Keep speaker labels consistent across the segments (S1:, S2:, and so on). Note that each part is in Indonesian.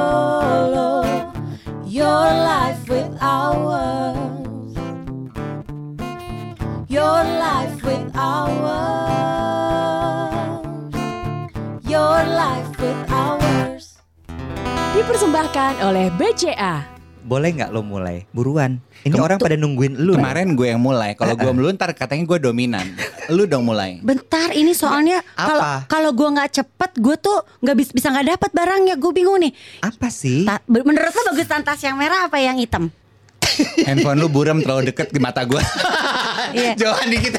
S1: YOLO, your life with ours. Your life with ours. Your life with ours.
S2: Dipersembahkan oleh BCA.
S3: Boleh nggak lo mulai? Buruan. Ini
S4: Kem-
S3: orang pada nungguin lu. ya? nih.
S4: Kemarin gue yang mulai. Kalau gue melulu ntar katanya gue dominan. Lu dong mulai.
S5: Bentar ini soalnya kalau
S3: Apa?
S5: kalau gue nggak cepet gue tuh nggak bis- bisa nggak dapat barangnya gue bingung nih.
S3: Apa sih?
S5: Ta- menurut lo bagus tas yang merah apa yang hitam?
S4: Handphone lu buram terlalu deket di mata gue.
S5: Iya.
S4: Jauhan dikit.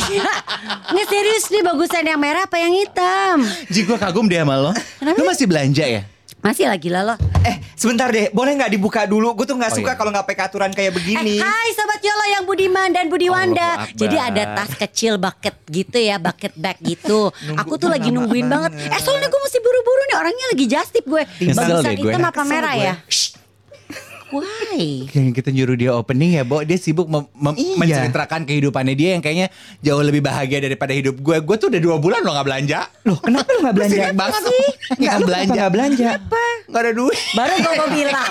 S5: Nggak serius nih bagusan yang merah apa yang hitam?
S4: Ji gue kagum deh sama lo. Lu masih belanja ya?
S5: Masih lagi lah lo.
S3: Eh, sebentar deh. Boleh nggak dibuka dulu? Gue tuh nggak
S4: Oh,
S3: suka
S4: iya.
S3: kalau nggak pakai aturan kayak
S5: Eh,
S3: begini.
S5: hai sobat Yolo yang Budiman dan Budiwanda.
S4: Allahu Akbar.
S5: Jadi ada tas kecil bucket gitu ya, bucket bag gitu.
S3: Nunggu-
S5: Aku tuh
S3: lama
S5: lagi nungguin banget.
S3: banget.
S5: Eh soalnya gue mesti buru-buru nih orangnya lagi jastip gue.
S4: Nyesel
S5: Bagusan
S4: deh gue.
S5: hitam apa
S3: Kesel
S5: merah
S3: gue.
S5: ya? Shh. Why?
S4: Kayaknya kita nyuruh dia opening ya, Bo. Dia sibuk mem- mem-
S3: Iya.
S4: menceritakan kehidupannya dia yang kayaknya jauh lebih bahagia daripada hidup gue. Gue tuh udah dua bulan lo gak belanja.
S3: Loh, kenapa lu nggak belanja?
S4: Sirik banget sih.
S3: Nggak lu belanja. Nggak belanja.
S4: Gak ada duit.
S5: Baru gue mau bilang.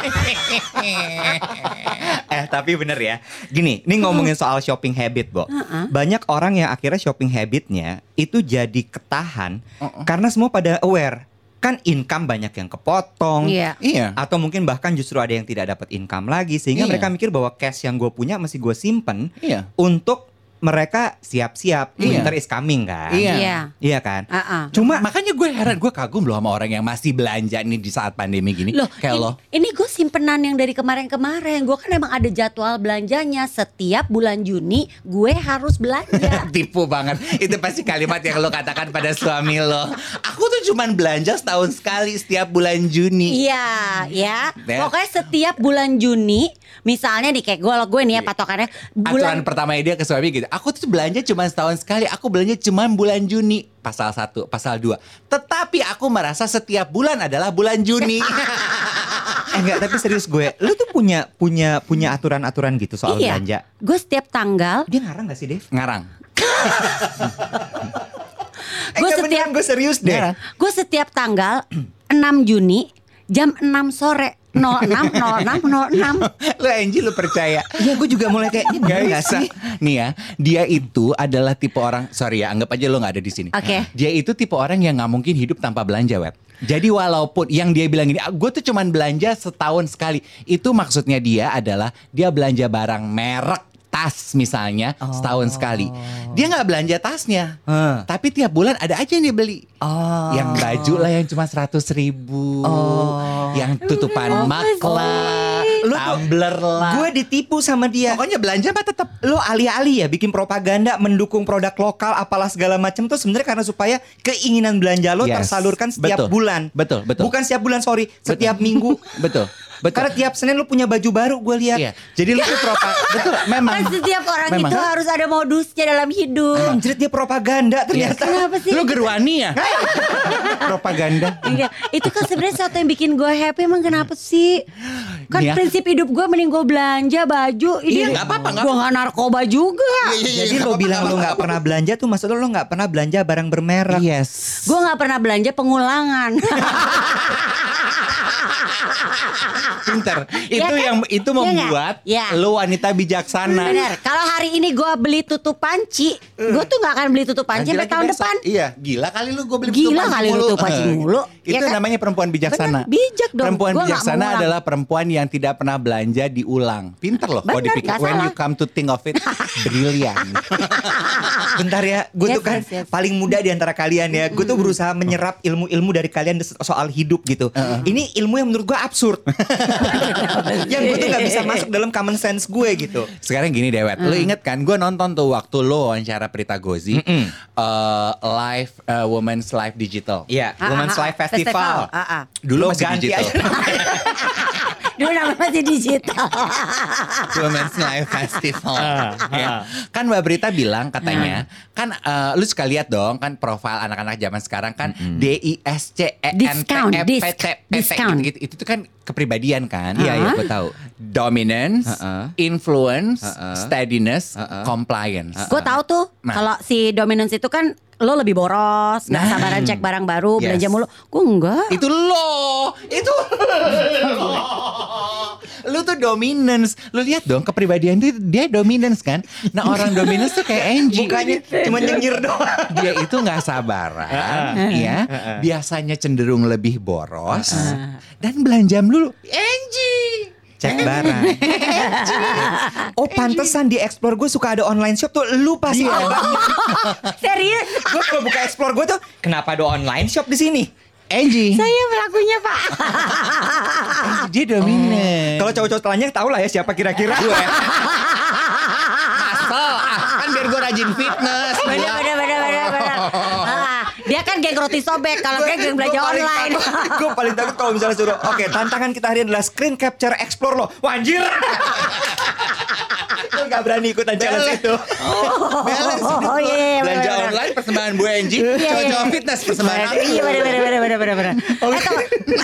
S3: eh, tapi bener ya. Gini, ini ngomongin soal shopping habit, Bo. Banyak orang yang akhirnya shopping habitnya itu jadi ketahan karena semua pada aware. Kan income banyak yang kepotong.
S5: Iya.
S4: Iya.
S3: Atau mungkin bahkan justru ada yang tidak dapat income lagi sehingga
S4: Iya.
S3: mereka mikir bahwa cash yang gue punya mesti gue simpen
S4: Iya.
S3: untuk mereka siap-siap
S4: Iya.
S3: winter is coming kan.
S4: Iya.
S5: Iya.
S3: Iya kan?
S5: Ah, ah.
S4: Cuma makanya gue heran, gue kagum loh sama orang yang masih belanja nih di saat pandemi gini.
S5: Loh,
S4: kayak
S5: ini,
S4: lo.
S5: ini gue simpenan yang dari kemarin-kemarin. Gue kan emang ada jadwal belanjanya. Setiap bulan Juni gue harus belanja.
S4: Tipu banget. Itu pasti kalimat yang lo katakan pada suami lo. Aku tuh cuman belanja setahun sekali setiap bulan Juni.
S5: Iya, ya.
S4: Ya.
S5: Pokoknya setiap bulan Juni, misalnya nih kayak gue gue nih ya patokannya
S4: Iya.
S5: bulan
S4: Aturan pertama dia ke suami gitu. Aku tuh belanja cuman setahun sekali. Aku belanja cuman bulan Juni. Pasal 1, pasal 2. Tetapi aku merasa setiap bulan adalah bulan Juni.
S3: Eh enggak, tapi serius gue, lu tuh punya punya punya aturan-aturan gitu soal
S5: Iya.
S3: belanja.
S5: Gue setiap tanggal,
S3: Dia ngarang gak sih, Dev?
S4: Ngarang.
S3: Eh,
S5: Gue
S3: enggak, beneran,
S5: setiap-
S3: gue serius deh.
S4: Ngarang.
S5: gue setiap tanggal 6 Juni jam 6 sore 06 06 06.
S4: Lo Angie lo percaya.
S3: Iya, gue juga mulai kayak ini
S4: Gak
S3: bener gak
S4: bisa.
S3: sih?
S4: Nih ya, dia itu adalah tipe orang. Sorry ya, anggap aja lo nggak ada di sini.
S5: Oke.
S4: Dia itu tipe orang yang nggak mungkin hidup tanpa belanja, wet. Jadi walaupun yang dia bilang gini, gue tuh cuman belanja setahun sekali. Itu maksudnya dia adalah dia belanja barang merek tas misalnya
S3: Oh.
S4: setahun sekali. Dia nggak belanja tasnya,
S3: Hah.
S4: tapi tiap bulan ada aja yang dia beli.
S3: Oh.
S4: Yang baju lah yang cuma seratus ribu,
S3: Oh.
S4: yang tutupan mak lah,
S3: Lu tuh-
S4: tumbler lah.
S3: Gue ditipu sama dia.
S4: Pokoknya belanja mah tetap
S3: lo alih-alih ya bikin propaganda mendukung produk lokal apalah segala macam tuh sebenarnya karena supaya keinginan belanja lo
S4: Yes.
S3: tersalurkan setiap
S4: Betul.
S3: bulan.
S4: Betul, betul.
S3: Bukan setiap bulan, sorry, setiap minggu.
S4: betul. Betul.
S3: Karena tiap Senin lo punya baju baru gue lihat.
S4: Iya. Jadi lu tuh propa betul memang.
S5: Kan setiap orang
S4: Memang.
S5: itu harus ada modusnya dalam hidup.
S3: Anjir dia propaganda
S4: Iya.
S3: ternyata.
S5: Kenapa sih?
S4: Lu gerwani ya? Propaganda.
S5: Iya, itu kan sebenarnya satu yang bikin gue happy emang kenapa sih? Kan
S4: Nia.
S5: prinsip hidup gue mending gue belanja baju.
S4: Iya, nggak apa-apa, Iya, nggak
S5: Gue nggak narkoba juga.
S3: Jadi lo bilang lo nggak pernah belanja tuh maksud lo lo nggak pernah belanja barang bermerek.
S4: Yes.
S5: Gue nggak pernah belanja pengulangan.
S4: Pinter.
S5: Iya
S4: Itu
S5: kan?
S4: yang itu
S5: Iya
S4: membuat
S5: nggak? Iya.
S4: lu wanita bijaksana.
S5: Bener. Kalau hari ini gue beli tutup panci, gue tuh nggak akan beli tutup panci sampai
S4: Lagi-lagi
S5: tahun
S4: Eh. besok.
S5: depan.
S4: Iya, gila kali lu gue beli
S5: Gila
S4: tutup
S5: kali lu tutup panci mulu.
S4: Itu
S5: Iya kan?
S4: namanya perempuan bijaksana.
S5: Bener, bijak dong.
S4: Perempuan
S5: Gua nggak
S4: bijaksana
S5: mengulang.
S4: adalah perempuan yang tidak pernah belanja diulang. Pinter loh kalau
S5: Bener,
S4: dipikir.
S5: nggak
S4: When
S5: salah.
S4: you come to think of it, brilliant.
S3: Bentar ya, gue
S5: Yes,
S3: tuh kan
S5: yes, yes.
S3: paling muda di antara kalian ya. Gue tuh berusaha menyerap ilmu-ilmu dari kalian des- soal hidup gitu. Ini ilmu yang menurut gue absurd. yang gue tuh nggak bisa masuk dalam common sense gue gitu.
S4: Sekarang gini Dewet, lu
S5: Hmm.
S4: inget kan gue nonton tuh waktu lu wawancara Prita Gozi eh, live eh, Women's Live Digital.
S3: Iya,
S5: Ah,
S3: Women's
S5: ah,
S3: Life
S5: ah, festival.
S3: Festival.
S5: Ah, ah.
S4: Dulu
S3: Lo
S4: masih
S3: ganti
S4: digital.
S3: aja
S5: Dulu namanya masih digital.
S4: Women's Live Festival.
S3: Ah,
S4: Ya. Kan Mbak Prita bilang katanya,
S3: Hmm.
S4: kan eh, lu suka lihat dong kan profil
S3: Hmm.
S4: anak-anak zaman sekarang kan D I S C E N T
S5: Discount,
S4: E P
S5: disc,
S4: T P T
S5: discount. Ah.
S4: gitu. Itu tuh kan kepribadian kan?
S3: Iya, iya, gue tahu.
S4: Dominance,
S3: Heeh.
S4: influence,
S3: Heeh.
S4: steadiness,
S3: Heeh.
S4: compliance.
S5: Gue tahu tuh
S4: Nah.
S5: kalau si dominance itu kan lo lebih boros, nggak
S4: Nah.
S5: sabaran cek barang baru,
S4: Yes.
S5: belanja mulu. Gue enggak.
S4: Itu lo, itu lo. Lu tuh dominance. Lu lihat dong kepribadian itu dia dominance kan. Nah, orang dominance tuh kayak Angie.
S3: Mukanya cuma nyengir doang.
S4: dia itu nggak sabaran ya biasanya cenderung lebih boros dan belanja dulu Angie
S3: Cek barang. oh pantesan di explore gue suka ada online shop tuh lu pasti
S5: Iya.
S3: abang.
S5: Serius?
S3: gue kalau buka explore gue tuh kenapa ada online shop di sini?
S4: Angie
S5: Saya Iya, pelakunya pak.
S4: Angie, dia dominan
S3: Kalau cowok-cowok telanjang tau lah ya siapa kira-kira.
S4: asal ah, kan biar gue rajin fitness
S5: Bener bener bener bener. bener. Ah, dia kan geng roti sobek, kalau gue geng belanja online.
S3: gue paling takut kalau misalnya suruh, oke tantangan kita hari ini adalah screen capture explore lo. Wah anjir. Gue gak berani ikutan challenge itu.
S4: Balance hidup
S5: Oh,
S4: lo.
S5: iya, iya,
S4: belanja
S5: bener-bener.
S4: online persembahan Bu Angie cowok-cowok fitness persembahan aku.
S5: Iya bener bener bener bener bener. bener. Eh, tau,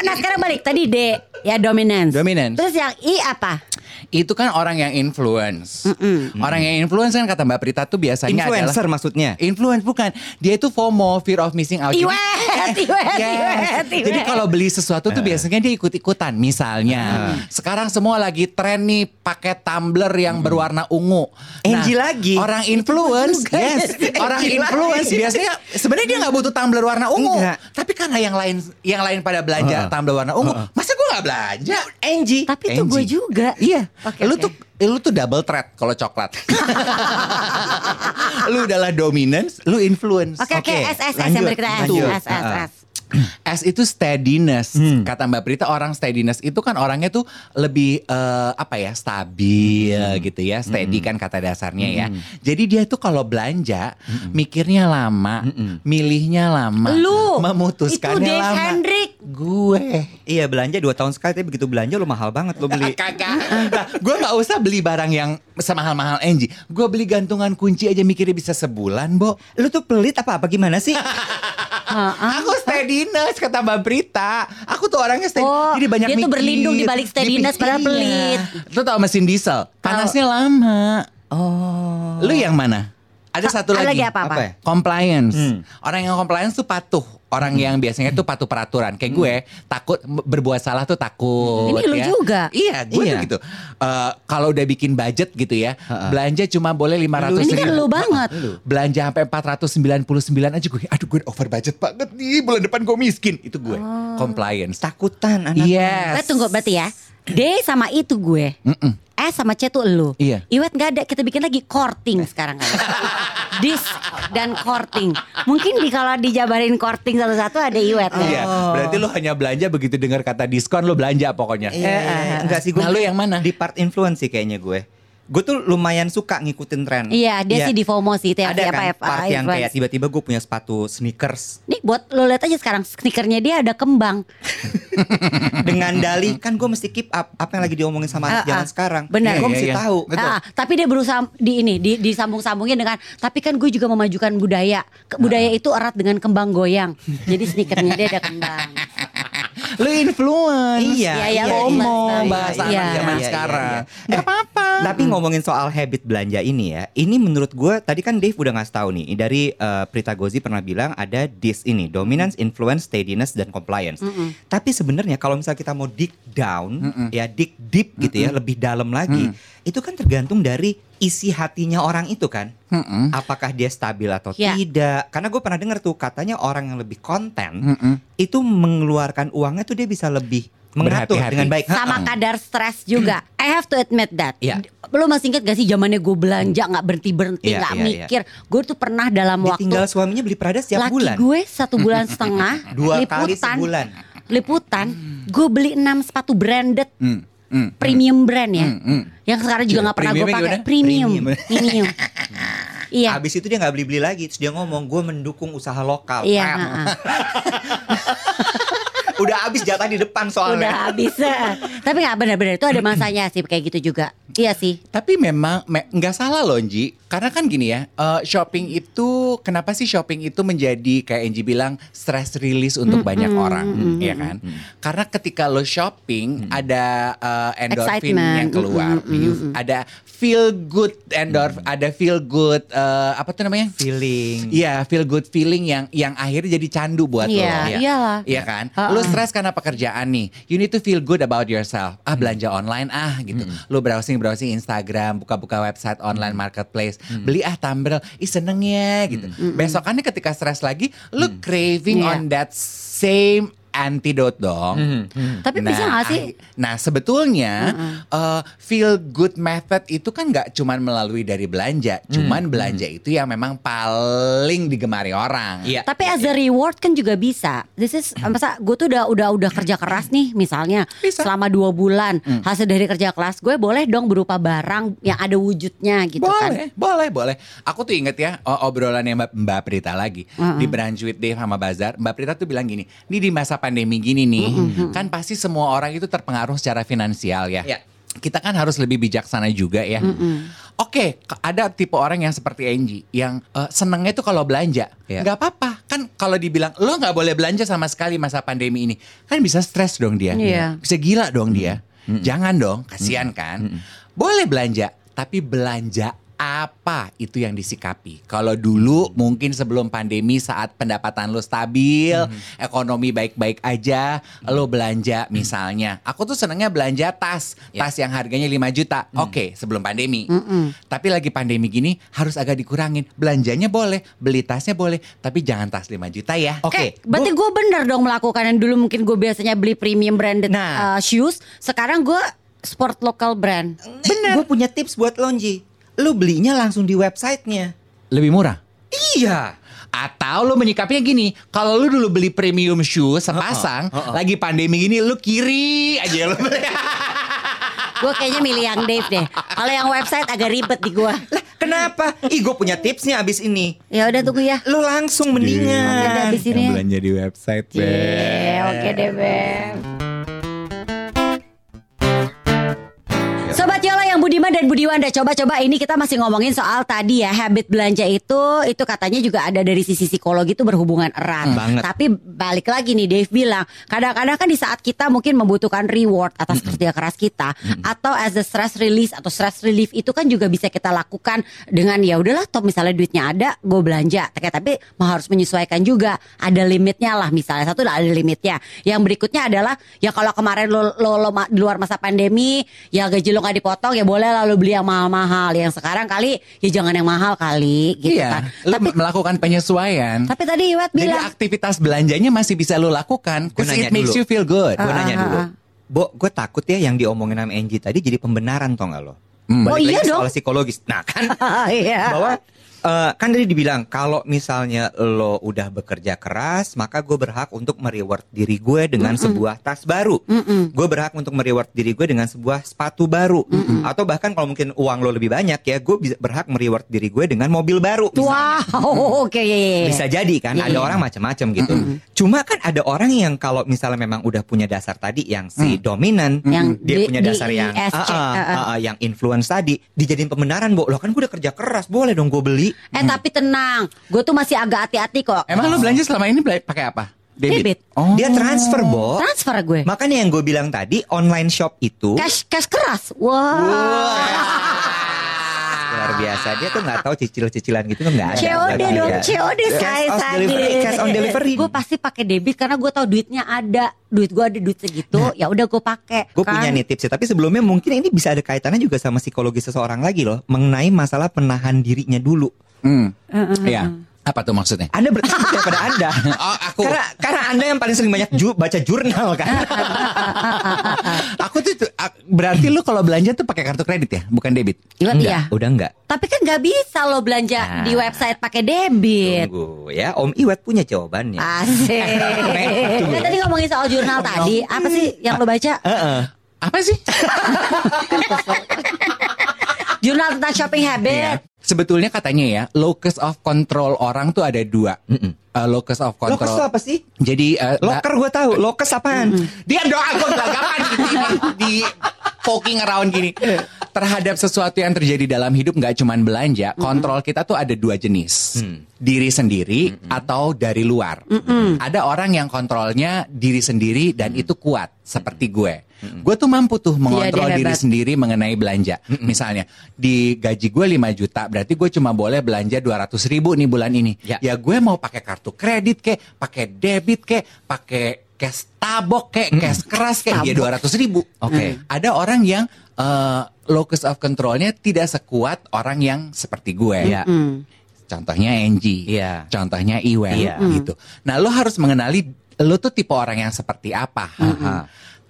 S5: nah sekarang balik tadi D ya dominance.
S4: Dominance.
S5: Terus yang I apa?
S4: itu kan orang yang influence orang yang influence kan kata Mbak Prita tuh biasanya adalah
S3: Influencer maksudnya.
S4: Iya, Influence bukan. Dia itu FOMO, fear of missing out. Jadi-
S5: Iwet, iwet,
S4: Yes.
S5: iwet, iwet.
S4: Jadi kalau beli sesuatu tuh biasanya dia ikut-ikutan. Misalnya, sekarang semua lagi tren nih pakai tumbler yang berwarna ungu. Nah,
S3: Angie lagi.
S4: Orang influence,
S5: juga.
S4: yes. Orang
S3: Angie
S4: influence
S3: lagi.
S4: biasanya sebenarnya dia nggak butuh tumbler warna ungu.
S3: Enggak.
S4: Tapi karena yang lain yang lain pada belanja tumbler warna ungu, masa gue nggak belanja?
S3: Angie.
S5: Tapi itu gue
S4: Angie.
S5: juga.
S4: Iya.
S5: Oke,
S4: lu
S5: oke.
S4: tuh lu tuh double threat kalau coklat. lu adalah dominance, lu influence.
S5: Oke oke S S S
S3: lanjut,
S5: yang berikutnya S
S3: lanjut.
S5: S
S4: Ah,
S5: S S.
S4: S itu steadiness. Kata Mbak Prita orang steadiness itu kan orangnya tuh lebih eh, apa ya stabil gitu ya. Steady kan kata dasarnya ya. Jadi dia tuh kalau belanja mikirnya lama, milihnya lama,
S5: Lu
S4: memutuskannya
S5: itu Dave
S4: lama.
S5: Hendrik.
S4: Gue.
S3: Iya belanja dua tahun sekali tapi begitu belanja lu mahal banget lu beli.
S4: Kagak. Nah, gue nggak usah beli barang yang semahal-mahal Angie. Gue beli gantungan kunci aja mikirnya bisa sebulan, Bo.
S3: Lu tuh pelit apa apa gimana sih?
S4: Aku steadiness kata Mbak Prita. Aku tuh orangnya steady.
S5: Oh,
S4: Jadi banyak
S5: dia tuh berlindung di balik steadiness, padahal
S4: iya.
S5: pelit.
S4: Lu tau mesin diesel, panasnya lama.
S3: Oh.
S4: Lu yang mana? Ada satu
S5: Ada
S4: lagi.
S5: lagi apa apa?
S3: Apa ya?
S4: Compliance.
S3: Hmm.
S4: Orang yang compliance tuh patuh. Orang yang biasanya tuh patuh peraturan. Kayak gue
S3: Hmm.
S4: takut berbuat salah tuh takut.
S5: Ini lu
S4: ya.
S5: juga.
S4: Iya, gue
S3: Iya.
S4: tuh gitu. Eh, kalau udah bikin budget gitu ya, belanja cuma boleh 500
S5: Ini kan lu banget.
S4: Belanja sampai 499 aja gue. Aduh, gue over budget banget nih. Bulan depan gue miskin. Itu gue. Compliance.
S3: Takutan anak.
S5: Gue
S4: Yes.
S5: tunggu berarti ya. D sama I tuh gue. S sama C tuh elu.
S4: Iya.
S5: Iwet gak ada, kita bikin lagi korting sekarang kali. Dis dan korting. Mungkin di kalau dijabarin korting satu-satu ada Iwet ya.
S4: Iya, berarti lu hanya belanja begitu dengar kata diskon lu belanja pokoknya.
S5: Eh,
S3: Iya, enggak sih gue.
S4: Nah, lu yang mana?
S3: Di part influence sih kayaknya gue. Gue tuh lumayan suka ngikutin tren.
S5: Iya, dia sih di ya? FOMO sih itu
S3: Ada kan
S5: apa
S3: part yang kayak tiba-tiba gue punya sepatu sneakers
S5: Nih buat lo lihat aja sekarang sneakernya dia ada kembang.
S3: dengan dali kan gue mesti keep up apa yang lagi diomongin sama anak
S5: Ah,
S3: zaman
S5: ah.
S3: sekarang.
S5: Benar.
S3: Gue
S4: Iya,
S3: mesti
S4: iya, iya.
S3: tahu.
S4: Betul.
S5: Ah, tapi dia berusaha di ini di, disambung-sambungin dengan tapi kan gue juga memajukan budaya. Ke- Budaya itu erat dengan kembang goyang. Jadi sneakernya dia ada kembang.
S4: Lu influence.
S3: Iya,
S5: Iya, iya,
S4: FOMO
S5: benar.
S4: bahasa
S5: Iya.
S4: anak zaman
S3: Iya, iya,
S4: sekarang.
S3: iya.
S4: Gak apa-apa.
S3: Tapi ngomongin soal habit belanja ini ya, ini menurut gue tadi kan Dave udah ngasih tahu nih dari eh, Prita Gozi pernah bilang ada this ini dominance, influence, steadiness dan compliance. Tapi sebenarnya kalau misalnya kita mau dig down ya dig deep gitu ya, lebih dalam lagi, itu kan tergantung dari isi hatinya orang itu kan.
S4: Mm-mm.
S3: Apakah dia stabil atau
S5: Hmm. Ya.
S3: tidak? Karena gue pernah dengar tuh katanya orang yang lebih konten
S4: Mm-mm.
S3: itu mengeluarkan uangnya tuh dia bisa lebih mengatur
S4: Berhati-hati.
S3: dengan baik.
S5: Sama kadar stres juga. I have to admit that.
S3: Iya.
S5: Lo masih inget gak sih zamannya gue belanja nggak berhenti berhenti
S3: Iya,
S5: nggak
S3: iya, iya.
S5: mikir. Gue tuh pernah dalam waktu
S3: Ditinggal suaminya beli Prada setiap
S5: laki
S3: bulan.
S5: gue satu bulan setengah
S3: Dua kali
S5: liputan
S3: sebulan.
S5: liputan. Gue beli enam sepatu branded
S4: Mm, mm,
S5: premium brand ya.
S3: Hmm,
S4: mm.
S5: Yang sekarang juga
S4: Gila,
S5: nggak pernah gue
S4: premiumnya
S5: pakai
S4: gimana?
S5: premium.
S3: Premium.
S5: Premium. Iya.
S3: Abis itu dia nggak beli-beli lagi. Terus dia ngomong, gue mendukung usaha lokal.
S5: Iya,
S3: Ah.
S5: heeh.
S3: Udah abis jatah di depan
S5: udah
S3: soalnya.
S5: habis. eh. Tapi nggak benar-benar itu ada masanya sih kayak gitu juga. Iya sih.
S4: Tapi memang me- nggak salah loh Nji Karena kan gini ya, eh, shopping itu kenapa sih shopping itu menjadi kayak Angie bilang stress release untuk banyak orang, ya kan? Karena ketika lo shopping ada eh, endorfin
S5: Excitement,
S4: yang keluar,
S5: mm, mm,
S4: You- ada feel good endorf, ada feel good eh, apa tuh namanya?
S3: Feeling.
S4: Iya, feel good feeling yang yang akhirnya jadi candu buat
S5: Iya,
S4: lo.
S5: iyalah.
S4: Iya kan?
S5: Ha-ha.
S4: Lo stres karena pekerjaan nih. You need to feel good about yourself. Ah, belanja online ah gitu. Lo browsing-browsing Instagram, buka-buka website online marketplace, beli ah tumbrel, ih seneng ya gitu. Besokannya ketika stres lagi, lo craving
S5: Iya.
S4: on that same antidote dong.
S5: Tapi bisa nggak sih? Hmm.
S4: ah, Nah sebetulnya eh, feel good method itu kan nggak cuman melalui dari belanja, cuman belanja itu yang memang paling digemari orang.
S3: Iya.
S5: Tapi as
S4: ya.
S5: a reward kan juga bisa. This is masa gue tuh udah udah udah kerja keras nih misalnya
S4: Hmm. Bisa. Hmm.
S5: selama dua bulan hasil dari kerja kelas gue boleh dong berupa barang yang ada wujudnya gitu kan.
S4: boleh, boleh, boleh. Aku tuh inget ya o- obrolannya Mbak, Mbak Prita lagi di Brunch with Dave sama Bazar. Mbak Prita tuh bilang gini, ini di masa pandemi gini nih, kan pasti semua orang itu terpengaruh secara finansial ya.
S3: Iya.
S4: Kita kan harus lebih bijaksana juga ya. Oke, ke- ada tipe orang yang seperti Angie yang eh, senengnya tuh kalau belanja,
S3: Iya.
S4: nggak apa-apa kan kalau dibilang lo nggak boleh belanja sama sekali masa pandemi ini, kan bisa stres dong dia,
S5: Iya.
S4: bisa gila dong dia. Jangan dong, kasihan kan. Boleh belanja, tapi belanja apa itu yang disikapi. Kalau dulu mungkin sebelum pandemi saat pendapatan lo stabil, ekonomi baik-baik aja, lo belanja misalnya. Aku tuh senengnya belanja tas,
S3: Ya.
S4: tas yang harganya 5 juta. Oke, sebelum pandemi. Tapi lagi pandemi gini harus agak dikurangin. Belanjanya boleh, beli tasnya boleh, tapi jangan tas 5 juta ya.
S3: Oke.
S5: Kayak, berarti gue bener dong melakukan yang dulu mungkin gue biasanya beli premium branded uh,
S4: Nah.
S5: shoes, sekarang gue sport local brand.
S3: Bener. Gue punya tips buat Lonji. Lu belinya langsung di websitenya.
S4: Lebih murah.
S3: Iya.
S4: Atau lu menyikapinya gini, kalau lu dulu beli premium shoes sepasang, lagi pandemi gini lu kiri aja lu beli.
S5: Gue kayaknya milih yang Dave deh. Kalau yang website agak ribet di gue.
S3: Lah kenapa? Ih gue punya tipsnya abis ini.
S5: Ya udah tunggu ya.
S3: Lu langsung
S5: Udah
S3: mendingan.
S5: di sini. Iya.
S4: belanja di website,
S5: Yeah, oke deh Beb. Sobat Yola yang Budiman dan Budiwanda Coba-coba ini kita masih ngomongin soal tadi ya Habit belanja itu Itu katanya juga ada dari sisi psikologi itu berhubungan erat
S3: Hmm, banget.
S5: Tapi balik lagi nih Dave bilang Kadang-kadang kan di saat kita mungkin membutuhkan reward Atas kerja keras kita Atau as a stress release Atau stress relief itu kan juga bisa kita lakukan Dengan ya udahlah top misalnya duitnya ada Gue belanja Tapi- Tapi mau harus menyesuaikan juga Ada limitnya lah misalnya Satu ada limitnya Yang berikutnya adalah Ya kalau kemarin lo, lo- lo ma- di luar masa pandemi Ya gaji lo gak dipotong Ya boleh lah lo beli yang mahal-mahal Yang sekarang kali Ya jangan yang mahal kali gitu kan
S4: Iya, lu
S5: Tapi
S4: melakukan penyesuaian.
S5: tapi tadi Iwat
S4: Jadi
S5: bilang
S4: aktivitas belanjanya masih bisa lu lakukan
S3: Gua
S4: because
S3: nanya
S4: it makes
S3: dulu.
S4: you feel good.
S3: Gue
S5: Ah,
S3: nanya
S5: ah,
S3: dulu.
S5: ah.
S3: Bo, gue takut ya yang diomongin sama Angie tadi jadi pembenaran tau gak lo?
S4: Hmm.
S5: Oh,
S3: Balik
S5: iya
S3: lagi
S5: dong.
S3: Soal psikologis. Nah kan
S5: iya.
S3: bahwa eh, kan tadi dibilang kalau misalnya lo udah bekerja keras maka gue berhak untuk mereward diri gue dengan sebuah tas baru gue berhak untuk mereward diri gue dengan sebuah sepatu baru atau bahkan kalau mungkin uang lo lebih banyak ya gue bisa berhak mereward diri gue dengan mobil baru misalnya.
S5: Wow, oke.
S3: Bisa jadi kan, ada orang macam-macam gitu. Cuma kan ada orang yang kalau misalnya memang udah punya dasar tadi yang si dominan,
S5: Mm. Yang
S3: dia
S5: D-
S3: punya dasar yang
S5: DISC,
S3: Ah, ah,
S5: ah,
S3: ah, ah, yang influence tadi, dijadiin pembenaran, Bo. Lo kan gue udah kerja keras, boleh dong gue beli.
S5: Eh tapi tenang, gue tuh masih agak hati-hati kok.
S4: Emang lu belanja selama ini bela- pakai apa?
S5: Debit.
S4: Oh.
S3: Dia transfer, Bo.
S5: Transfer gue.
S3: Makanya yang gue bilang tadi, online shop itu
S5: Cash cash keras. Wah.
S3: luar biasa. Dia tuh nggak tahu cicil-cicilan gitu kan nggak ada.
S5: COD
S3: Nggak
S5: dong,
S3: ada.
S5: COD
S3: Cash
S5: saya
S3: on delivery, cash on delivery.
S5: Gue pasti pakai debit karena gue tahu duitnya ada, duit gue ada duit segitu, ya udah gue pakai.
S3: Gue
S5: kan?
S3: Nah. punya nih tipsnya, tapi sebelumnya mungkin ini bisa ada kaitannya juga sama psikologi seseorang lagi loh, mengenai masalah penahan dirinya dulu.
S4: Hmm. Iya. Apa tuh maksudnya?
S3: Anda bertanya kepada Anda.
S4: Oh, aku
S3: Karena karena Anda yang paling sering banyak ju- baca jurnal kan.
S5: Ah,
S4: aku tuh tuh, ak- berarti lu kalau belanja tuh pakai kartu kredit ya, bukan debit.
S5: Iwan,
S3: Enggak,
S5: iya.
S3: udah enggak.
S5: Tapi kan nggak bisa lo belanja di website pakai debit.
S3: Tunggu ya, Om Iwet punya jawabannya.
S5: Ah. Asik. Kan tadi ngomongin soal jurnal tadi, apa sih yang lo baca?
S4: Apa sih?
S5: Jurnal
S4: Iya.
S3: Iya.
S5: tentang shopping habit.
S4: Sebetulnya katanya ya, locus of control orang tuh ada dua. eh, locus of control.
S3: Lokes tuh apa sih?
S4: Jadi eh,
S3: Loker gue tahu. Lokes apaan?
S4: dia doa gue belagakan di, di poking around gini terhadap sesuatu yang terjadi dalam hidup nggak cuman belanja kontrol kita tuh ada dua jenis
S5: Hmm.
S4: diri sendiri atau dari luar ada orang yang kontrolnya diri sendiri dan itu kuat seperti gue gue tuh mampu tuh mengontrol
S5: Iya, dia
S4: diri
S5: hebat.
S4: sendiri mengenai belanja misalnya di gaji gue 5 juta berarti gue cuma boleh belanja 200 ribu nih bulan ini
S3: Ya.
S4: ya gue mau pakai kartu kredit kek, pakai debit kek, pakai cash tabok kek, cash keras kek, ya dua ribu. Oke, ada orang yang eh, locus of controlnya tidak sekuat orang yang seperti gue.
S3: Iya.
S4: Contohnya Angie,
S3: Iya.
S4: contohnya Iwen,
S3: Iya.
S4: gitu.
S5: Hmm.
S4: Nah, lo harus mengenali lo tuh tipe orang yang seperti apa.
S5: Hmm.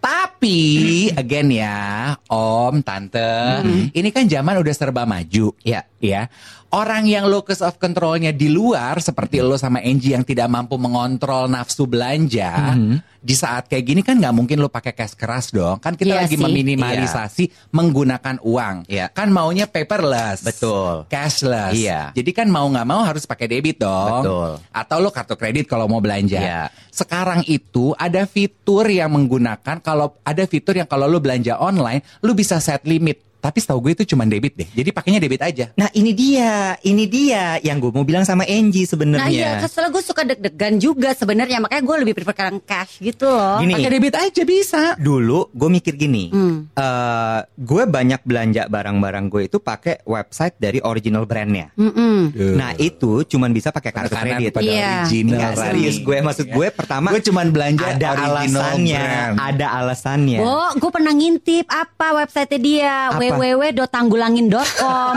S4: Tapi again ya, Om, Tante,
S5: Hmm.
S4: ini kan zaman udah serba maju.
S3: Iya.
S4: Ya. Orang yang locus of controlnya di luar seperti lo sama Angie yang tidak mampu mengontrol nafsu belanja,
S5: Hmm.
S4: di saat kayak gini kan nggak mungkin lo pakai cash keras dong. Kan kita
S5: Iya
S4: lagi
S5: sih.
S4: meminimalisasi menggunakan uang.
S3: Iya.
S4: Kan maunya paperless.
S3: Betul.
S4: Cashless.
S3: Iya.
S4: Jadi kan mau nggak mau harus pakai debit dong.
S3: Betul.
S4: Atau lo kartu kredit kalau mau belanja.
S3: Iya.
S4: Sekarang itu ada fitur yang menggunakan kalau ada fitur yang kalau lo belanja online, lo bisa set limit. Tapi setahu gue itu cuma debit deh. Jadi pakainya debit aja.
S3: Nah ini dia, ini dia yang gue mau bilang sama Angie
S5: Nah iya,
S3: sebenarnya.
S5: kesel gue suka deg-degan juga sebenarnya makanya gue lebih prefer kadang cash gitu loh.
S3: Gini.
S4: Pakai debit aja bisa.
S3: Dulu gue mikir gini,
S5: Hmm.
S3: eh, gue banyak belanja barang-barang gue itu pakai website dari original brandnya.
S5: Mm-mm.
S3: Nah itu cuman bisa pakai kartu
S4: Penekanan
S3: kredit.
S4: pada
S5: Iya.
S4: original.
S3: Enggak serius gue maksud gue pertama
S4: Gue cuman belanja
S3: ada
S4: original
S3: alasannya,
S4: brand.
S3: ada alasannya.
S5: Oh, gue pernah ngintip apa website dia
S3: iya. Apa?
S5: www.tanggulangin.com.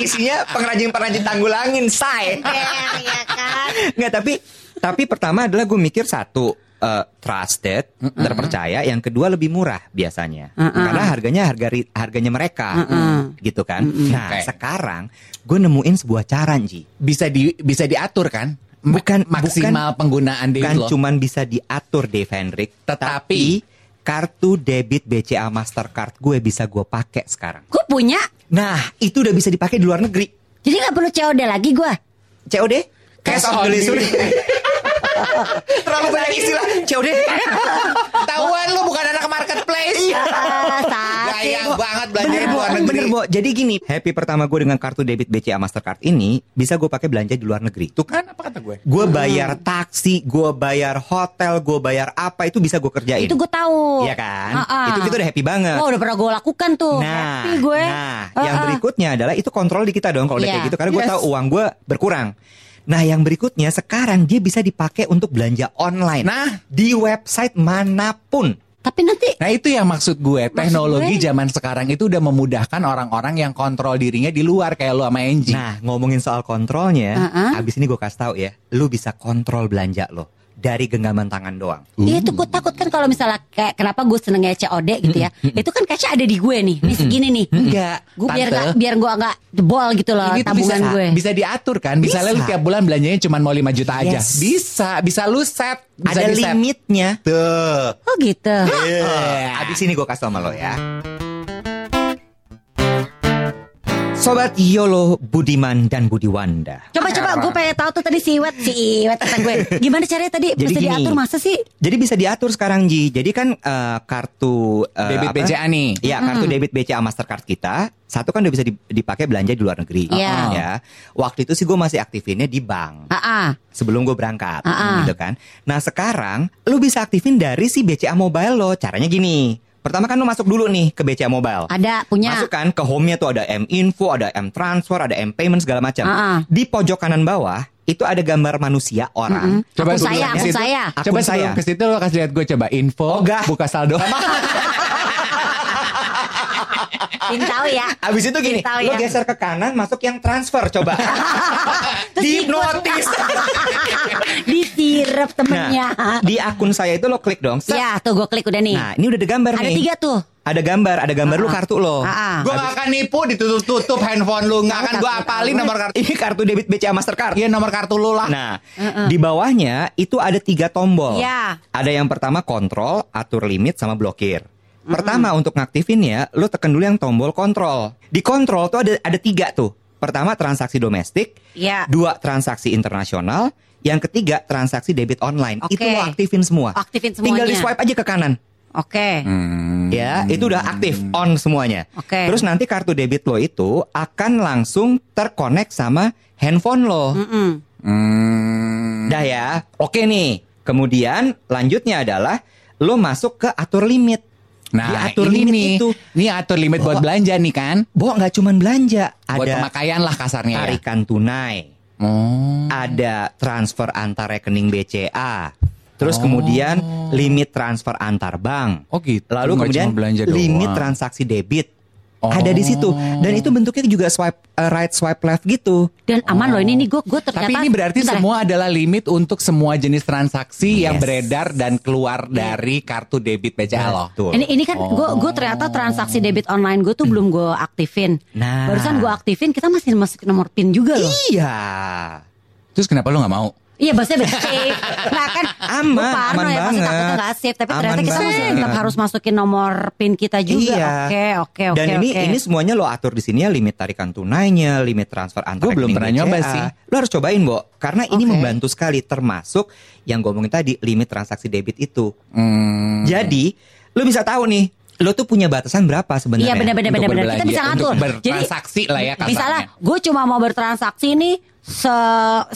S3: Isinya pengrajin-pengrajin tanggulangin, say.
S5: Fair, ya kan?
S3: Nggak tapi tapi pertama adalah gue mikir satu eh, trusted terpercaya yang kedua lebih murah biasanya karena harganya harga ri- harganya mereka gitu kan nah
S4: Oke.
S3: sekarang gue nemuin sebuah cara Ji
S4: Bisa di bisa diatur kan? Ma-
S3: Bukan-
S4: maksimal penggunaan debit
S3: kan
S4: lo.
S3: cuman bisa diatur Dave Hendrik
S4: Tetapi-
S3: tetapi kartu debit BCA Mastercard gue bisa gue pakai sekarang
S5: Gue punya,
S3: nah itu udah bisa dipakai di luar negeri
S5: jadi nggak perlu COD lagi gue.
S3: COD Cash
S4: on
S3: on delivery.
S4: delivery.
S3: Terlalu banyak istilah COD
S4: Ketahuan lo bukan anak marketplace.
S3: Iya. Oh.
S5: Ah, sakit.
S4: Gaya iya banget belanja
S3: Bener,
S4: di
S3: Bo.
S4: luar negeri.
S3: Bener, Bo. Jadi gini, happy pertama gue dengan kartu debit BCA Mastercard ini bisa gue pakai belanja di luar negeri.
S4: Tuh kan apa kata gue?
S3: Gue bayar taksi, gue bayar hotel, gue bayar apa itu bisa gue kerjain.
S5: Itu gue tahu.
S3: Iya kan?
S5: Ah-ah.
S3: Itu kita udah happy banget.
S5: Wah, udah pernah gue lakukan tuh.
S3: Nah,
S5: Happy gue.
S3: nah,
S5: Ah,
S3: yang
S5: ah.
S3: berikutnya adalah itu kontrol di kita dong kalau udah
S5: Iya.
S3: kayak gitu karena gue
S4: Uh-uh. Yes.
S3: tahu uang gue berkurang. Nah, yang berikutnya sekarang dia bisa dipakai untuk belanja online.
S4: Nah.
S3: di website manapun.
S5: Tapi nanti
S4: Nah itu yang maksud gue Teknologi
S5: gue-
S4: zaman sekarang itu udah memudahkan orang-orang yang kontrol dirinya di luar Kayak lu sama Angie
S3: Nah, ngomongin soal kontrolnya,
S5: Uh-uh.
S3: abis ini gue kasih tahu ya, lu bisa kontrol belanja lo dari genggaman tangan doang.
S5: Iya itu gue takut kan kalau misalnya kayak kenapa gue senengnya COD gitu ya Itu kan kaca ada di gue nih Ini segini nih
S4: Enggak,
S5: Gue biar
S4: Tante.
S5: gak, biar gue gak jebol gitu loh
S4: Ini tuh bisa,
S5: tabungan gue
S4: bisa diatur kan Misalnya lu
S3: Bisa.
S4: tiap bulan belanjanya cuma mau 5 juta aja
S3: Yes.
S4: Bisa, bisa lu set bisa
S3: Ada
S4: di-set.
S3: limitnya. Tuh.
S5: Oh gitu
S3: Abis ini gue kasih tau sama lo ya. Sobat Yolo Budiman dan Budiwanda.
S5: Coba-coba gue pengen tahu tuh tadi si Iwet Si Iwet tentang gue Gimana caranya tadi
S3: Jadi
S5: Bisa
S3: gini.
S5: diatur masa sih
S3: Jadi bisa diatur sekarang Ji. Jadi kan eh, kartu eh,
S4: Debit
S3: apa?
S4: BCA nih
S3: Iya, kartu debit BCA Mastercard kita satu kan udah bisa di- dipakai belanja di luar negeri.
S5: Iya.
S3: Ya. Waktu itu sih gue masih aktifinnya di bank
S5: Ah, ah.
S3: sebelum gue berangkat,
S5: Ah-ah.
S3: gitu kan. Nah sekarang lu bisa aktifin dari si BCA Mobile lo. Caranya gini. Pertama kan lu masuk dulu nih ke BCA Mobile.
S5: Ah, Ada punya
S3: Masuk kan ke home-nya tuh ada M Info, ada M Transfer, ada M Payment segala macam.
S5: Ah-ah.
S3: Di pojok kanan bawah itu ada gambar manusia orang.
S5: Akun
S4: sebelum
S5: saya,
S4: ke
S5: akun
S4: situ-
S5: saya.
S4: Coba
S3: Akun
S4: sebelum
S3: saya.
S4: ke situ lo kasih lihat gue coba Info,
S3: Oh, enggak.
S4: buka saldo
S5: Ingin tahu ya
S3: Abis itu gini,
S5: Ingin tahu
S3: lo
S5: ya.
S3: geser ke kanan masuk yang transfer coba. Di notis.
S5: Disirep temennya
S3: Nah, di akun saya itu lo klik dong. set.
S5: Ya tuh gue klik udah nih
S3: Nah, ini udah ada gambar
S5: Ada
S3: nih.
S5: tiga tuh
S3: Ada gambar, ada gambar lu
S5: Ah.
S3: kartu lo.
S5: Ah, ah.
S4: Gue gak akan nipu ditutup-tutup handphone lu Gak akan gue
S5: Takut,
S4: apalin nomor kartu
S3: Ini kartu debit BCA Mastercard.
S4: Iya nomor kartu lu lah
S3: Nah, di bawahnya itu ada tiga tombol.
S5: Iya.
S3: Ada yang pertama kontrol, atur limit, sama blokir. Pertama untuk ngaktifin ya, lo tekan dulu yang tombol kontrol. Di kontrol tuh ada ada tiga tuh. Pertama transaksi domestik,
S5: Ya.
S3: dua transaksi internasional, yang ketiga transaksi debit online.
S5: Oke.
S3: Itu lo aktifin semua.
S5: Aktifin
S3: Tinggal di
S5: semuanya.
S3: swipe aja ke kanan.
S5: Oke.
S4: Hmm.
S3: Ya, itu udah aktif on semuanya.
S5: Oke.
S3: Terus nanti kartu debit lo itu akan langsung terkonek sama handphone lo.
S5: Mm-mm.
S4: Hmm.
S3: Dah ya. Oke nih. Kemudian lanjutnya adalah lo masuk ke atur limit. Di
S4: Nah,
S3: atur
S4: ini
S3: limit
S4: nih,
S3: itu.
S4: ini atur limit
S3: Bawa-
S4: buat belanja nih kan?
S3: Bo nggak cuman belanja,
S4: Buat
S3: ada
S4: pemakaian lah kasarnya ya.
S3: tarikan tunai,
S4: Oh.
S3: ada transfer antar rekening BCA. Terus
S4: Oh.
S3: kemudian limit transfer antar bank.
S4: Oh gitu.
S3: Lalu
S4: nggak
S3: kemudian
S4: cuma belanja
S3: limit
S4: doang.
S3: transaksi debit.
S4: Oh.
S3: Ada di situ dan itu bentuknya juga swipe eh, right swipe left gitu.
S5: Dan aman loh ini nih gue gue ternyata.
S4: Tapi ini berarti
S5: Bentar ya.
S4: semua adalah limit untuk semua jenis transaksi
S3: Yes. Iya.
S4: yang beredar dan keluar dari kartu debit BCA lo.
S3: Betul. Iya. Oh.
S5: Ini, ini kan gue gue ternyata transaksi debit online gue tuh belum gue aktifin.
S3: Nah.
S5: Barusan gue aktifin kita masih masuk nomor pin juga loh.
S3: Iya.
S4: Terus kenapa lo nggak mau?
S5: Iya maksudnya beda safe Nah kan
S3: Aman,
S5: gua parno
S3: aman
S5: ya Maksudnya
S3: banget.
S5: takutnya gak safe Tapi
S3: Aman
S5: ternyata kita
S3: banget.
S5: masih tetap harus masukin nomor pin kita juga
S3: Iya.
S5: Oke oke oke
S3: Dan ini
S5: oke.
S3: ini semuanya lo atur di sini ya limit tarikan tunainya, limit transfer antar
S4: Gua belum
S3: rekening
S4: pernah
S3: BCA.
S4: nyoba sih.
S3: Lo harus cobain, Bo. Karena ini
S5: Oke.
S3: membantu sekali termasuk yang gue omongin tadi limit transaksi debit itu.
S4: Hmm.
S3: Jadi, lo bisa tahu nih, lo tuh punya batasan berapa sebenarnya?
S5: Iya benar-benar
S4: Untuk
S5: benar-benar kita
S4: berbelanja,
S5: bisa ngatur.
S4: untuk bertransaksi lah ya kasarnya.
S5: Misalnya gue cuma mau bertransaksi nih se,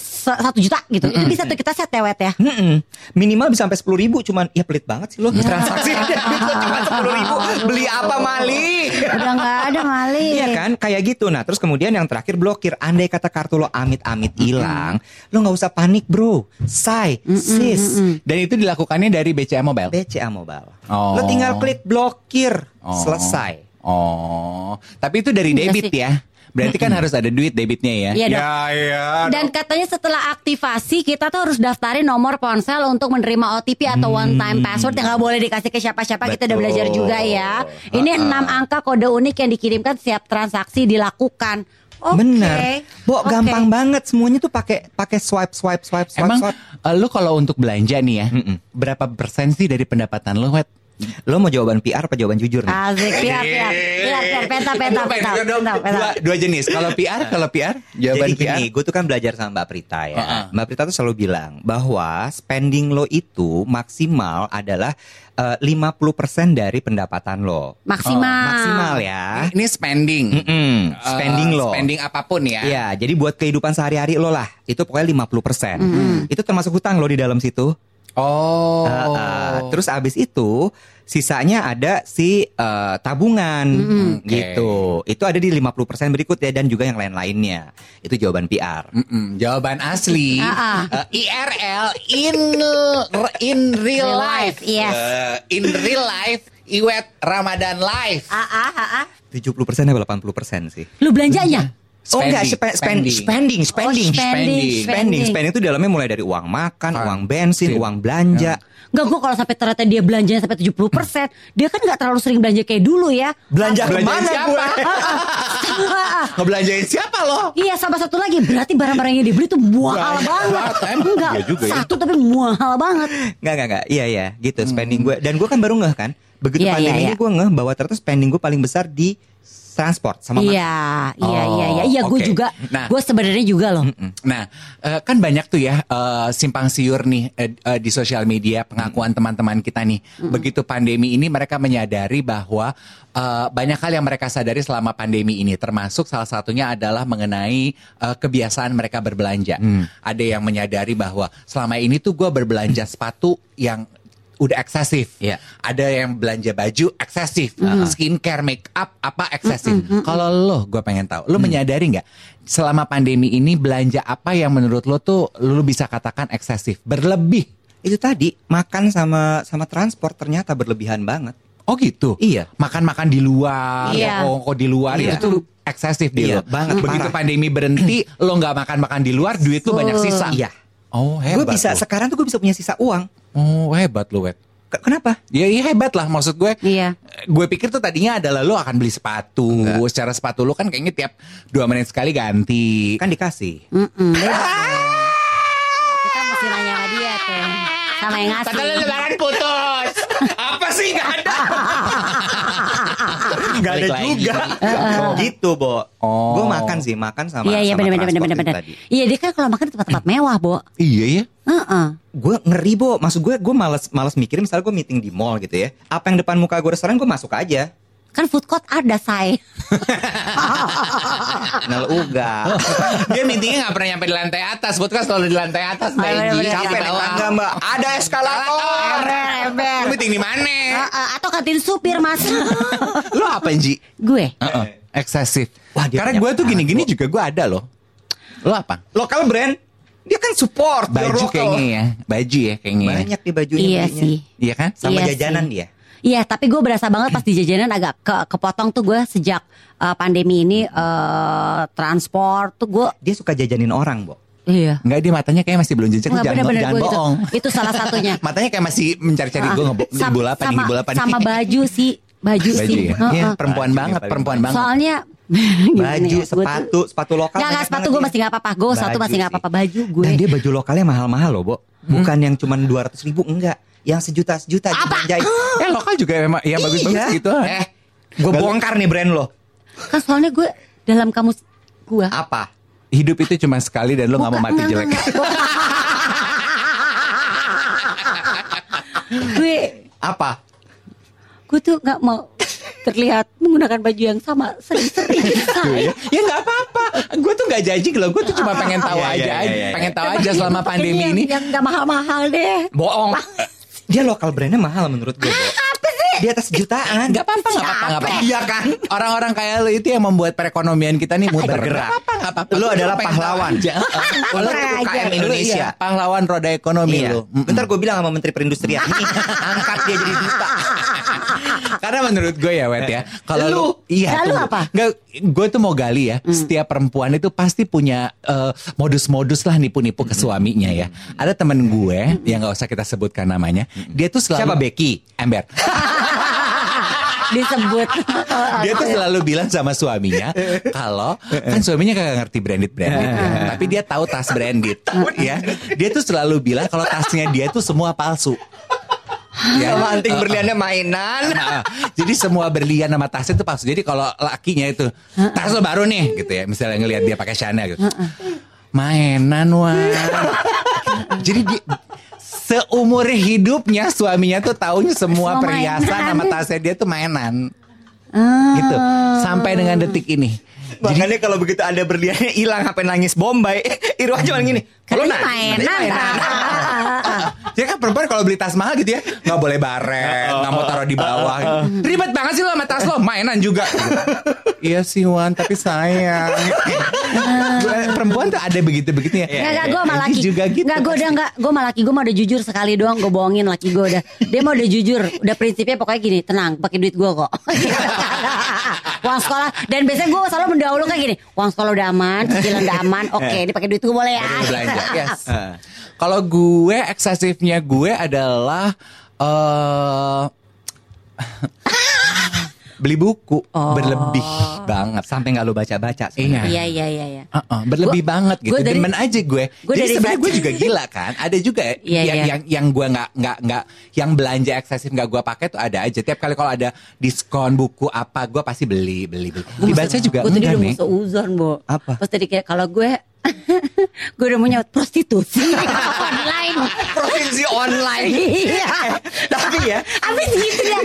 S5: se- satu juta gitu. Itu bisa tuh kita set ya Wet ya.
S3: Mm-mm. Minimal bisa sampai sepuluh ribu cuman ya pelit banget sih lo
S4: Iya.
S3: transaksi cuma sepuluh ribu beli apa mali
S5: Udah nggak ada mali.
S3: Iya kan, kayak gitu. Nah, terus kemudian yang terakhir blokir. Andai kata kartu lo amit-amit hilang, lo nggak usah panik, bro. Say, sis,
S4: Dan itu dilakukannya dari BCA Mobile.
S3: BCA Mobile.
S4: Oh.
S3: Lo tinggal klik blokir,
S4: Oh.
S3: selesai.
S4: Oh, tapi itu dari
S5: Enggak
S4: debit
S5: sih.
S4: ya. Berarti kan harus ada duit debitnya ya.
S5: Iya dong.
S4: iya.
S5: Dan katanya setelah aktivasi kita tuh harus daftarin nomor ponsel untuk menerima OTP atau one time password yang nggak boleh dikasih ke siapa-siapa. Kita udah
S3: Hmm. Betul.
S5: belajar juga ya. Ini enam angka kode unik yang dikirimkan setiap transaksi dilakukan. Oke.
S3: Bener. Bo,
S5: Oke.
S3: gampang banget. Semuanya tuh pakai pakai swipe, swipe, swipe, swipe,
S4: Emang
S3: swipe.
S4: eh, lu kalau untuk belanja nih ya,
S3: Mm-mm.
S4: berapa persen sih dari pendapatan lu, Wet?
S3: Lo mau jawaban PR apa jawaban jujur nih?
S5: Asik, biar, biar, biar, biar, peta, peta,
S4: Gua pengen
S5: peta,
S4: juga dong.
S5: peta, peta.
S4: Dua, dua jenis. Kalau PR, kalau PR, jawaban
S3: Nah. Jadi
S4: PR.
S3: gini, gue tuh kan belajar sama Mbak Prita ya.
S4: Uh-uh.
S3: Mbak Prita tuh selalu bilang bahwa spending lo itu maksimal adalah eh, 50% dari pendapatan lo.
S5: Maksimal.
S3: Maksimal ya.
S4: Ah, Ini spending.
S3: Mm-mm,
S4: Eh,
S3: spending lo.
S4: Spending apapun ya.
S3: Iya, jadi buat kehidupan sehari-hari lo lah, itu pokoknya 50%. Itu termasuk hutang lo di dalam situ.
S4: Oh.
S3: Ah, ah. terus abis itu sisanya ada si eh, tabungan
S4: Oke.
S3: gitu. Itu ada di 50% berikut ya dan juga yang lain-lainnya. Itu jawaban PR.
S4: Mm-mm, jawaban asli
S5: Ah,
S4: Eh, IRL in in real
S5: Real life,
S4: life.
S5: yes.
S4: Eh, in real life Iwet Ramadan life.
S5: Ah, ah, ah, ah.
S3: 70% atau 80% sih.
S5: Lu belanjanya?
S3: Oh enggak, spe- spen-
S4: spending.
S3: spending,
S5: Oh, spending,
S3: spending, spending, spending, spending itu dalamnya mulai dari uang makan,
S4: Ah.
S3: uang bensin,
S4: Sip.
S3: uang belanja,
S5: Enggak, gue kalau sampai ternyata dia belanjanya sampai 70%, dia kan nggak terlalu sering belanja kayak dulu ya.
S3: belanja
S4: Belanja
S3: kemana
S4: siapa?
S3: gue?
S5: Ah, ah.
S4: Ngebelanjain siapa lo?
S5: Iya sama satu lagi berarti barang-barang yang dibeli tuh mahal
S4: Banyak
S5: banget.
S4: banget, em.
S5: Enggak
S4: Iya juga ya.
S5: satu tapi mahal banget.
S3: Enggak, enggak, enggak. Iya, iya, gitu spending gue. Dan gue kan baru ngeh kan. Begitu
S5: Iya, iya,
S3: pandemi ini
S5: iya.
S3: gue ngeh bahwa ternyata spending gue paling besar di transport sama makan.
S5: Iya iya
S4: Oh,
S5: iya iya iya gue
S4: oke.
S5: juga
S4: Nah.
S5: gue sebenarnya juga loh.
S4: Nah, eh, kan banyak tuh ya eh, simpang siur nih eh, eh, di sosial media pengakuan teman-teman kita nih. Begitu pandemi ini mereka menyadari bahwa eh, banyak hal yang mereka sadari selama pandemi ini, termasuk salah satunya adalah mengenai eh, kebiasaan mereka berbelanja. Ada yang menyadari bahwa selama ini tuh gue berbelanja sepatu yang udah eksesif,
S3: Iya.
S4: ada yang belanja baju eksesif, skincare, make up apa eksesif. Kalau lo, gue pengen tahu,
S3: Hmm.
S4: lo menyadari nggak selama pandemi ini belanja apa yang menurut lo tuh lo bisa katakan eksesif, berlebih?
S3: Itu tadi makan sama sama transport ternyata berlebihan banget.
S4: Oh gitu.
S3: Iya.
S4: Makan-makan di luar, ya,
S5: Iya.
S4: kok di luar
S3: Iya.
S4: itu tuh eksesif di
S3: Iya,
S4: lo.
S3: banget,
S4: Begitu
S3: parah.
S4: pandemi berhenti, lo nggak makan-makan di luar, duit lo banyak sisa.
S3: Iya.
S4: Oh hebat.
S3: Gue bisa
S4: lo.
S3: sekarang tuh gue bisa punya sisa uang.
S4: Oh hebat lo wet.
S3: Ke- Kenapa?
S4: Ya, ya hebat lah maksud gue.
S5: Iya.
S4: Gue pikir tuh tadinya adalah lo akan beli sepatu. Secara sepatu lo kan kayaknya tiap dua menit sekali ganti.
S3: Kan dikasih.
S5: Mm-mm, beda dong. Kita mesti nanya sama dia tuh sama yang ngasih. Iya,
S4: lebaran putus. Apa
S3: Apa sih nggak ada? Nggak ada
S4: Balik lagi.
S3: juga. gitu, Bo.
S4: Oh.
S3: Gue makan sih, makan sama
S5: Iya iya
S3: sama
S5: benar benar benar
S3: transport
S5: benar
S3: itu
S5: benar.
S3: tadi.
S5: Iya dia kan kalau makan di tempat-tempat mewah, Bo.
S4: Iya ya.
S5: Heeh.
S3: Gue ngeri, Bo. Maksud gue, gue males, males mikirin misalnya gue meeting di mall gitu ya. Apa yang depan muka gue restoran, gue masuk aja.
S5: Kan food court ada,
S4: Eh.
S5: say.
S3: Nel uga.
S4: Dia meetingnya nggak pernah nyampe di lantai atas. Buat kan selalu di lantai atas. Mbak
S5: Oh, iya,
S4: Egy.
S5: iya, iya.
S4: Di
S3: Capek naik
S4: bawah.
S3: tangga, Mbak. Ada eskalator.
S4: Lu meeting di mana?
S5: Heeh, atau kantin supir, Mas.
S4: Lo apa Ji?
S5: Gue.
S4: Heeh. Eksesif.
S3: Wah, dia
S4: Karena
S3: punya
S4: gue tuh
S3: pacar,
S4: gini-gini juga gue ada loh. Lo apa?
S3: Lokal brand, dia kan support. your
S4: Baju
S3: local.
S4: kayaknya ya. Baju ya kayaknya. ya.
S3: Banyak di bajunya.
S5: Iya
S3: belinya.
S5: sih.
S4: Iya kan?
S3: Sama
S5: Iya
S3: jajanan
S5: sih.
S3: dia.
S5: Iya, tapi gue berasa banget pas di jajanan agak ke kepotong tuh gue sejak eh, pandemi ini eh transport tuh gue
S3: Dia suka jajanin orang, Bo.
S5: iya.
S4: Enggak dia matanya kayak masih belum jejak. Lu
S5: Enggak
S4: Jangan,
S5: benar-benar
S4: jangan
S5: gue gitu.
S4: bohong.
S5: Itu salah satunya.
S4: matanya kayak masih mencari-cari gue ngebo
S5: Sam-
S4: ngibul apa nih
S5: sama,
S4: ngibul apa nih.
S5: sama baju sih, baju,
S4: Baju
S5: sih.
S4: ya.
S5: Heeh.
S4: Iya, perempuan
S3: Baju
S4: banget,
S3: paling
S4: perempuan banget.
S5: Soalnya gimana ya,
S3: Baju,
S5: gue tuh-
S3: sepatu, sepatu lokal.
S5: Nggak, nggak,
S3: banyak
S5: sepatu
S3: banget
S5: gue
S3: dia.
S5: masih nggak apa-apa. Gue sepatu
S3: Baju
S5: masih nggak
S3: sih.
S5: apa-apa. Baju Hmm. gue.
S3: Dan dia baju lokalnya mahal-mahal loh, Bo. Bukan yang cuman 200 ribu, enggak. Yang sejuta-sejuta dibelanjain.
S4: Eh lokal juga memang yang bagus-bagus
S3: Iya.
S4: gitu.
S3: Eh, gue bongkar nih brand lo.
S5: Kan soalnya gue dalam kamus gue.
S3: Apa?
S4: Hidup itu cuma sekali dan lo Ah, nggak mau
S5: Bukan,
S4: mati
S5: nggak,
S4: jelek.
S5: nggak, nggak. gue
S3: Apa?
S5: gue tuh nggak mau terlihat menggunakan baju yang sama sering-sering.
S4: Iya. ya nggak apa-apa. Gue tuh nggak janji loh. Gue tuh
S5: Ah.
S4: cuma pengen tahu
S3: Iya, iya,
S4: aja,
S3: iya, iya.
S4: pengen tahu aja selama
S5: Pakainya
S4: pandemi
S5: yang-
S4: ini.
S5: Iya, yang nggak mahal-mahal deh.
S4: Bohong.
S3: Dia lokal brandnya mahal menurut gue, Bo.
S5: Ah,
S3: Apa sih? Di atas jutaan.
S4: Gak apa-apa, gak apa-apa, nggak apa-apa.
S3: Iya kan?
S4: Orang-orang kayak lo itu yang membuat perekonomian kita nih muter.
S3: Bergerak.
S4: Gak apa-apa, gak apa-apa.
S3: Lo
S4: Gua
S3: adalah
S4: pengen tahu
S3: pahlawan.
S4: aja. Lo
S3: Lo
S4: tuh
S3: tuh UKM
S4: Lo
S3: Indonesia.
S4: iya, pahlawan roda ekonomi Mm.
S3: Iya.
S4: lo. Mm-mm.
S3: Bentar gue bilang sama Menteri Perindustrian, nih angkat dia jadi duta.
S4: Karena menurut gue ya Wet ya Kalau
S3: Lu?
S4: lu Iya
S5: Lalu
S4: tunggu.
S5: apa? Hmm.
S4: Nggak, Gue tuh mau gali ya Setiap perempuan itu pasti punya eh, Modus-modus lah nipu-nipu
S3: Hmm.
S4: ke suaminya ya Ada temen gue Yang gak usah kita sebutkan namanya Dia tuh selalu
S3: Hmm. Siapa, Becky?
S4: Ember
S5: Disebut.
S4: Dia tuh selalu bilang sama suaminya Kalau Kan suaminya kagak ngerti branded-branded ya. Tapi dia tahu tas branded ya. Dia tuh selalu bilang Kalau tasnya dia tuh semua palsu Ya.
S3: Sama anting
S4: Eh,
S3: berliannya mainan.
S4: Nah, jadi semua berlian sama tasnya itu palsu. Jadi kalau lakinya itu tas lo baru nih gitu ya. Misalnya ngelihat dia pakai Chanel gitu. Mainan wah. jadi di, seumur hidupnya suaminya tuh taunya semua
S5: Semua
S4: perhiasan
S5: mainan.
S4: sama tasnya dia tuh mainan.
S5: Eh,
S4: Gitu.
S5: Hmm.
S4: Sampai dengan detik ini.
S3: Makanya kalau begitu ada berliannya hilang, apa nangis Bombay? Irwan cuma gini.
S5: Kalau
S3: "Lo nangis,
S5: mainan. kan?
S4: Dia kan perempuan kalau beli tas mahal gitu ya nggak boleh baret, nggak mau taruh di bawah. gitu. Ribet banget sih lo sama tas lo, mainan juga. iya sih Wan, tapi sayang. Gua- perempuan tuh ada begitu begitunya.
S5: Nggak, nggak, gue sama
S4: Egy
S5: laki
S4: iya, juga gitu.
S5: Nggak, gue udah nggak Gue sama laki Gue mau udah jujur sekali doang Gue bohongin laki gue udah Dia mau udah jujur Udah prinsipnya pokoknya gini Tenang, pakai duit gue kok Uang sekolah Dan biasanya gue selalu mendahulukan gini Uang sekolah udah aman Cicilan udah aman Oke, ini pakai duit gue boleh ya
S4: Baru belanja. Yes. Kalau gue eksesifnya gue adalah eh beli buku
S5: Oh.
S4: berlebih banget.
S3: Sampai nggak lo baca-baca.
S4: Iya.
S3: sebenarnya.
S5: Iya, iya, iya iya.
S4: Heeh, berlebih
S5: Gua-
S4: banget gitu.
S5: gua dari-
S4: Demen aja gue.
S5: gua
S4: Jadi
S5: dari
S4: sebenarnya gue
S5: baca-
S4: juga gila kan. Ada juga
S5: Iya,
S4: yang,
S5: iya.
S4: yang yang gue nggak nggak nggak yang belanja eksesif nggak gue pakai tuh ada aja. Tiap kali kalau ada diskon buku apa gue pasti beli beli beli. Dibaca juga
S5: Gue tadi
S4: enggak
S5: udah
S4: nih.
S5: mau seuzon, Bo
S3: Apa?
S5: Terus tadi kayak Kalau gue Gue udah mau nyawa prostitusi Online
S3: Provinsi online.
S5: Iya
S3: Tapi ya,
S5: Abis gitu ya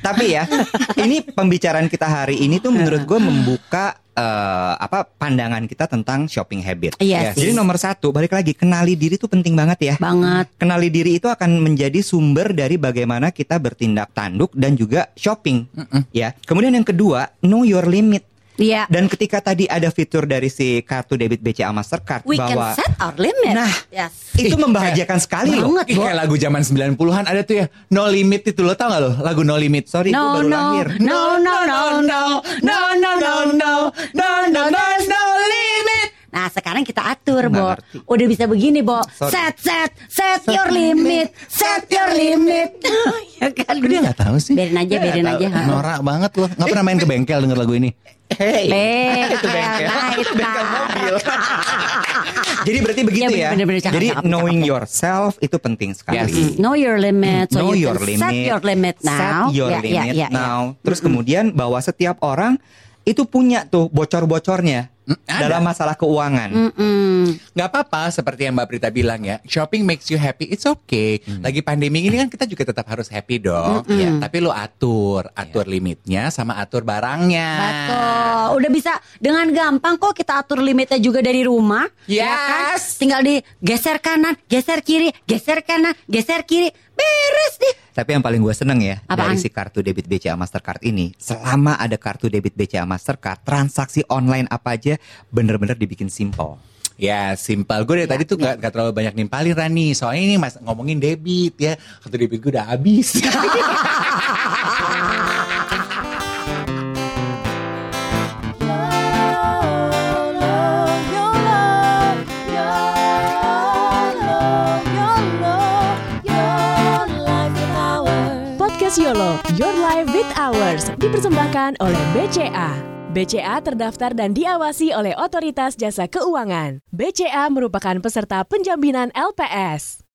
S3: tapi ya, ini pembicaraan kita hari ini tuh menurut gue membuka eh, apa pandangan kita tentang shopping habit. Ya,
S5: Iya sih.
S3: Jadi nomor satu, balik lagi kenali diri tuh penting banget ya.
S5: Banget
S3: Kenali diri itu akan menjadi sumber dari bagaimana kita bertindak tanduk dan juga shopping, ya. Kemudian yang kedua, know your limit.
S5: Iya
S3: Dan ketika tadi ada fitur dari si kartu debit BCA Mastercard
S5: We can
S3: bahwa
S5: set our limit.
S3: Nah.
S5: yes.
S3: itu membahagiakan sekali loh.
S5: banget,
S4: Ih,
S5: Bo.
S4: kayak lagu zaman 90-an ada tuh ya No Limit itu lo tau gak lo lagu No Limit
S3: Sorry, gue
S5: No,
S3: baru
S5: no.
S3: lahir.
S5: No, no, no,
S4: no no no no no no no there's no limit
S5: Nah, sekarang kita atur,
S3: Nggak
S5: Bo.
S3: ngerti.
S5: Udah bisa begini, Bo.
S3: Sorry.
S5: Set, set, set your limit, set your limit. ya kan?
S4: Dia gak tahu sih
S5: Biarin aja,
S4: Dia nggak
S5: biarin
S4: tahu.
S5: aja. ha.
S4: Norak banget loh Gak pernah main ke bengkel denger lagu ini
S3: Hey.
S5: Bengkel,
S3: itu ya. bengkel.
S5: nah, itu.
S3: bengkel mobil. Jadi berarti begitu
S5: Iya,
S3: ya.
S5: bener-bener, cakep,
S3: Jadi
S5: cakep,
S3: knowing yourself itu penting sekali.
S4: Yes.
S5: Know your limit. So
S3: Know
S5: you
S3: your
S5: can
S3: limit.
S5: Set your limit now. Ya,
S3: Set your
S5: Yeah, yeah,
S3: limit
S5: yeah, yeah.
S3: now. Terus kemudian bahwa setiap orang itu punya tuh bocor-bocornya
S5: Mm,
S4: ada.
S3: dalam masalah keuangan.
S5: Mm-mm.
S4: nggak apa-apa seperti yang Mbak Prita bilang ya shopping makes you happy it's okay lagi pandemi ini kan kita juga tetap harus happy dong
S5: Mm-mm.
S4: Ya, tapi lu atur atur limitnya sama atur barangnya
S3: Nah.
S5: Betul. Udah bisa dengan gampang kok kita atur limitnya juga dari rumah. ya kan?
S4: Yes.
S5: Tinggal digeser kanan, geser kiri, geser kanan, geser kiri. Beres deh.
S3: Tapi yang paling gue seneng ya
S5: Apaan?
S3: dari si kartu debit BCA Mastercard ini, selama ada kartu debit BCA Mastercard, transaksi online apa aja bener-bener dibikin simple.
S4: Ya simpel Gue
S5: Iya,
S4: dari tadi tuh nggak nggak terlalu banyak nimpalin Rani Soalnya ini mas ngomongin debit ya Kartu debit gue udah habis
S1: YOLO, YOLO, YOLO, YOLO, your life is ours.
S2: Podcast YOLO, Your Life with Ours, dipersembahkan oleh BCA. BCA terdaftar dan diawasi oleh Otoritas Jasa Keuangan. BCA merupakan peserta penjaminan LPS.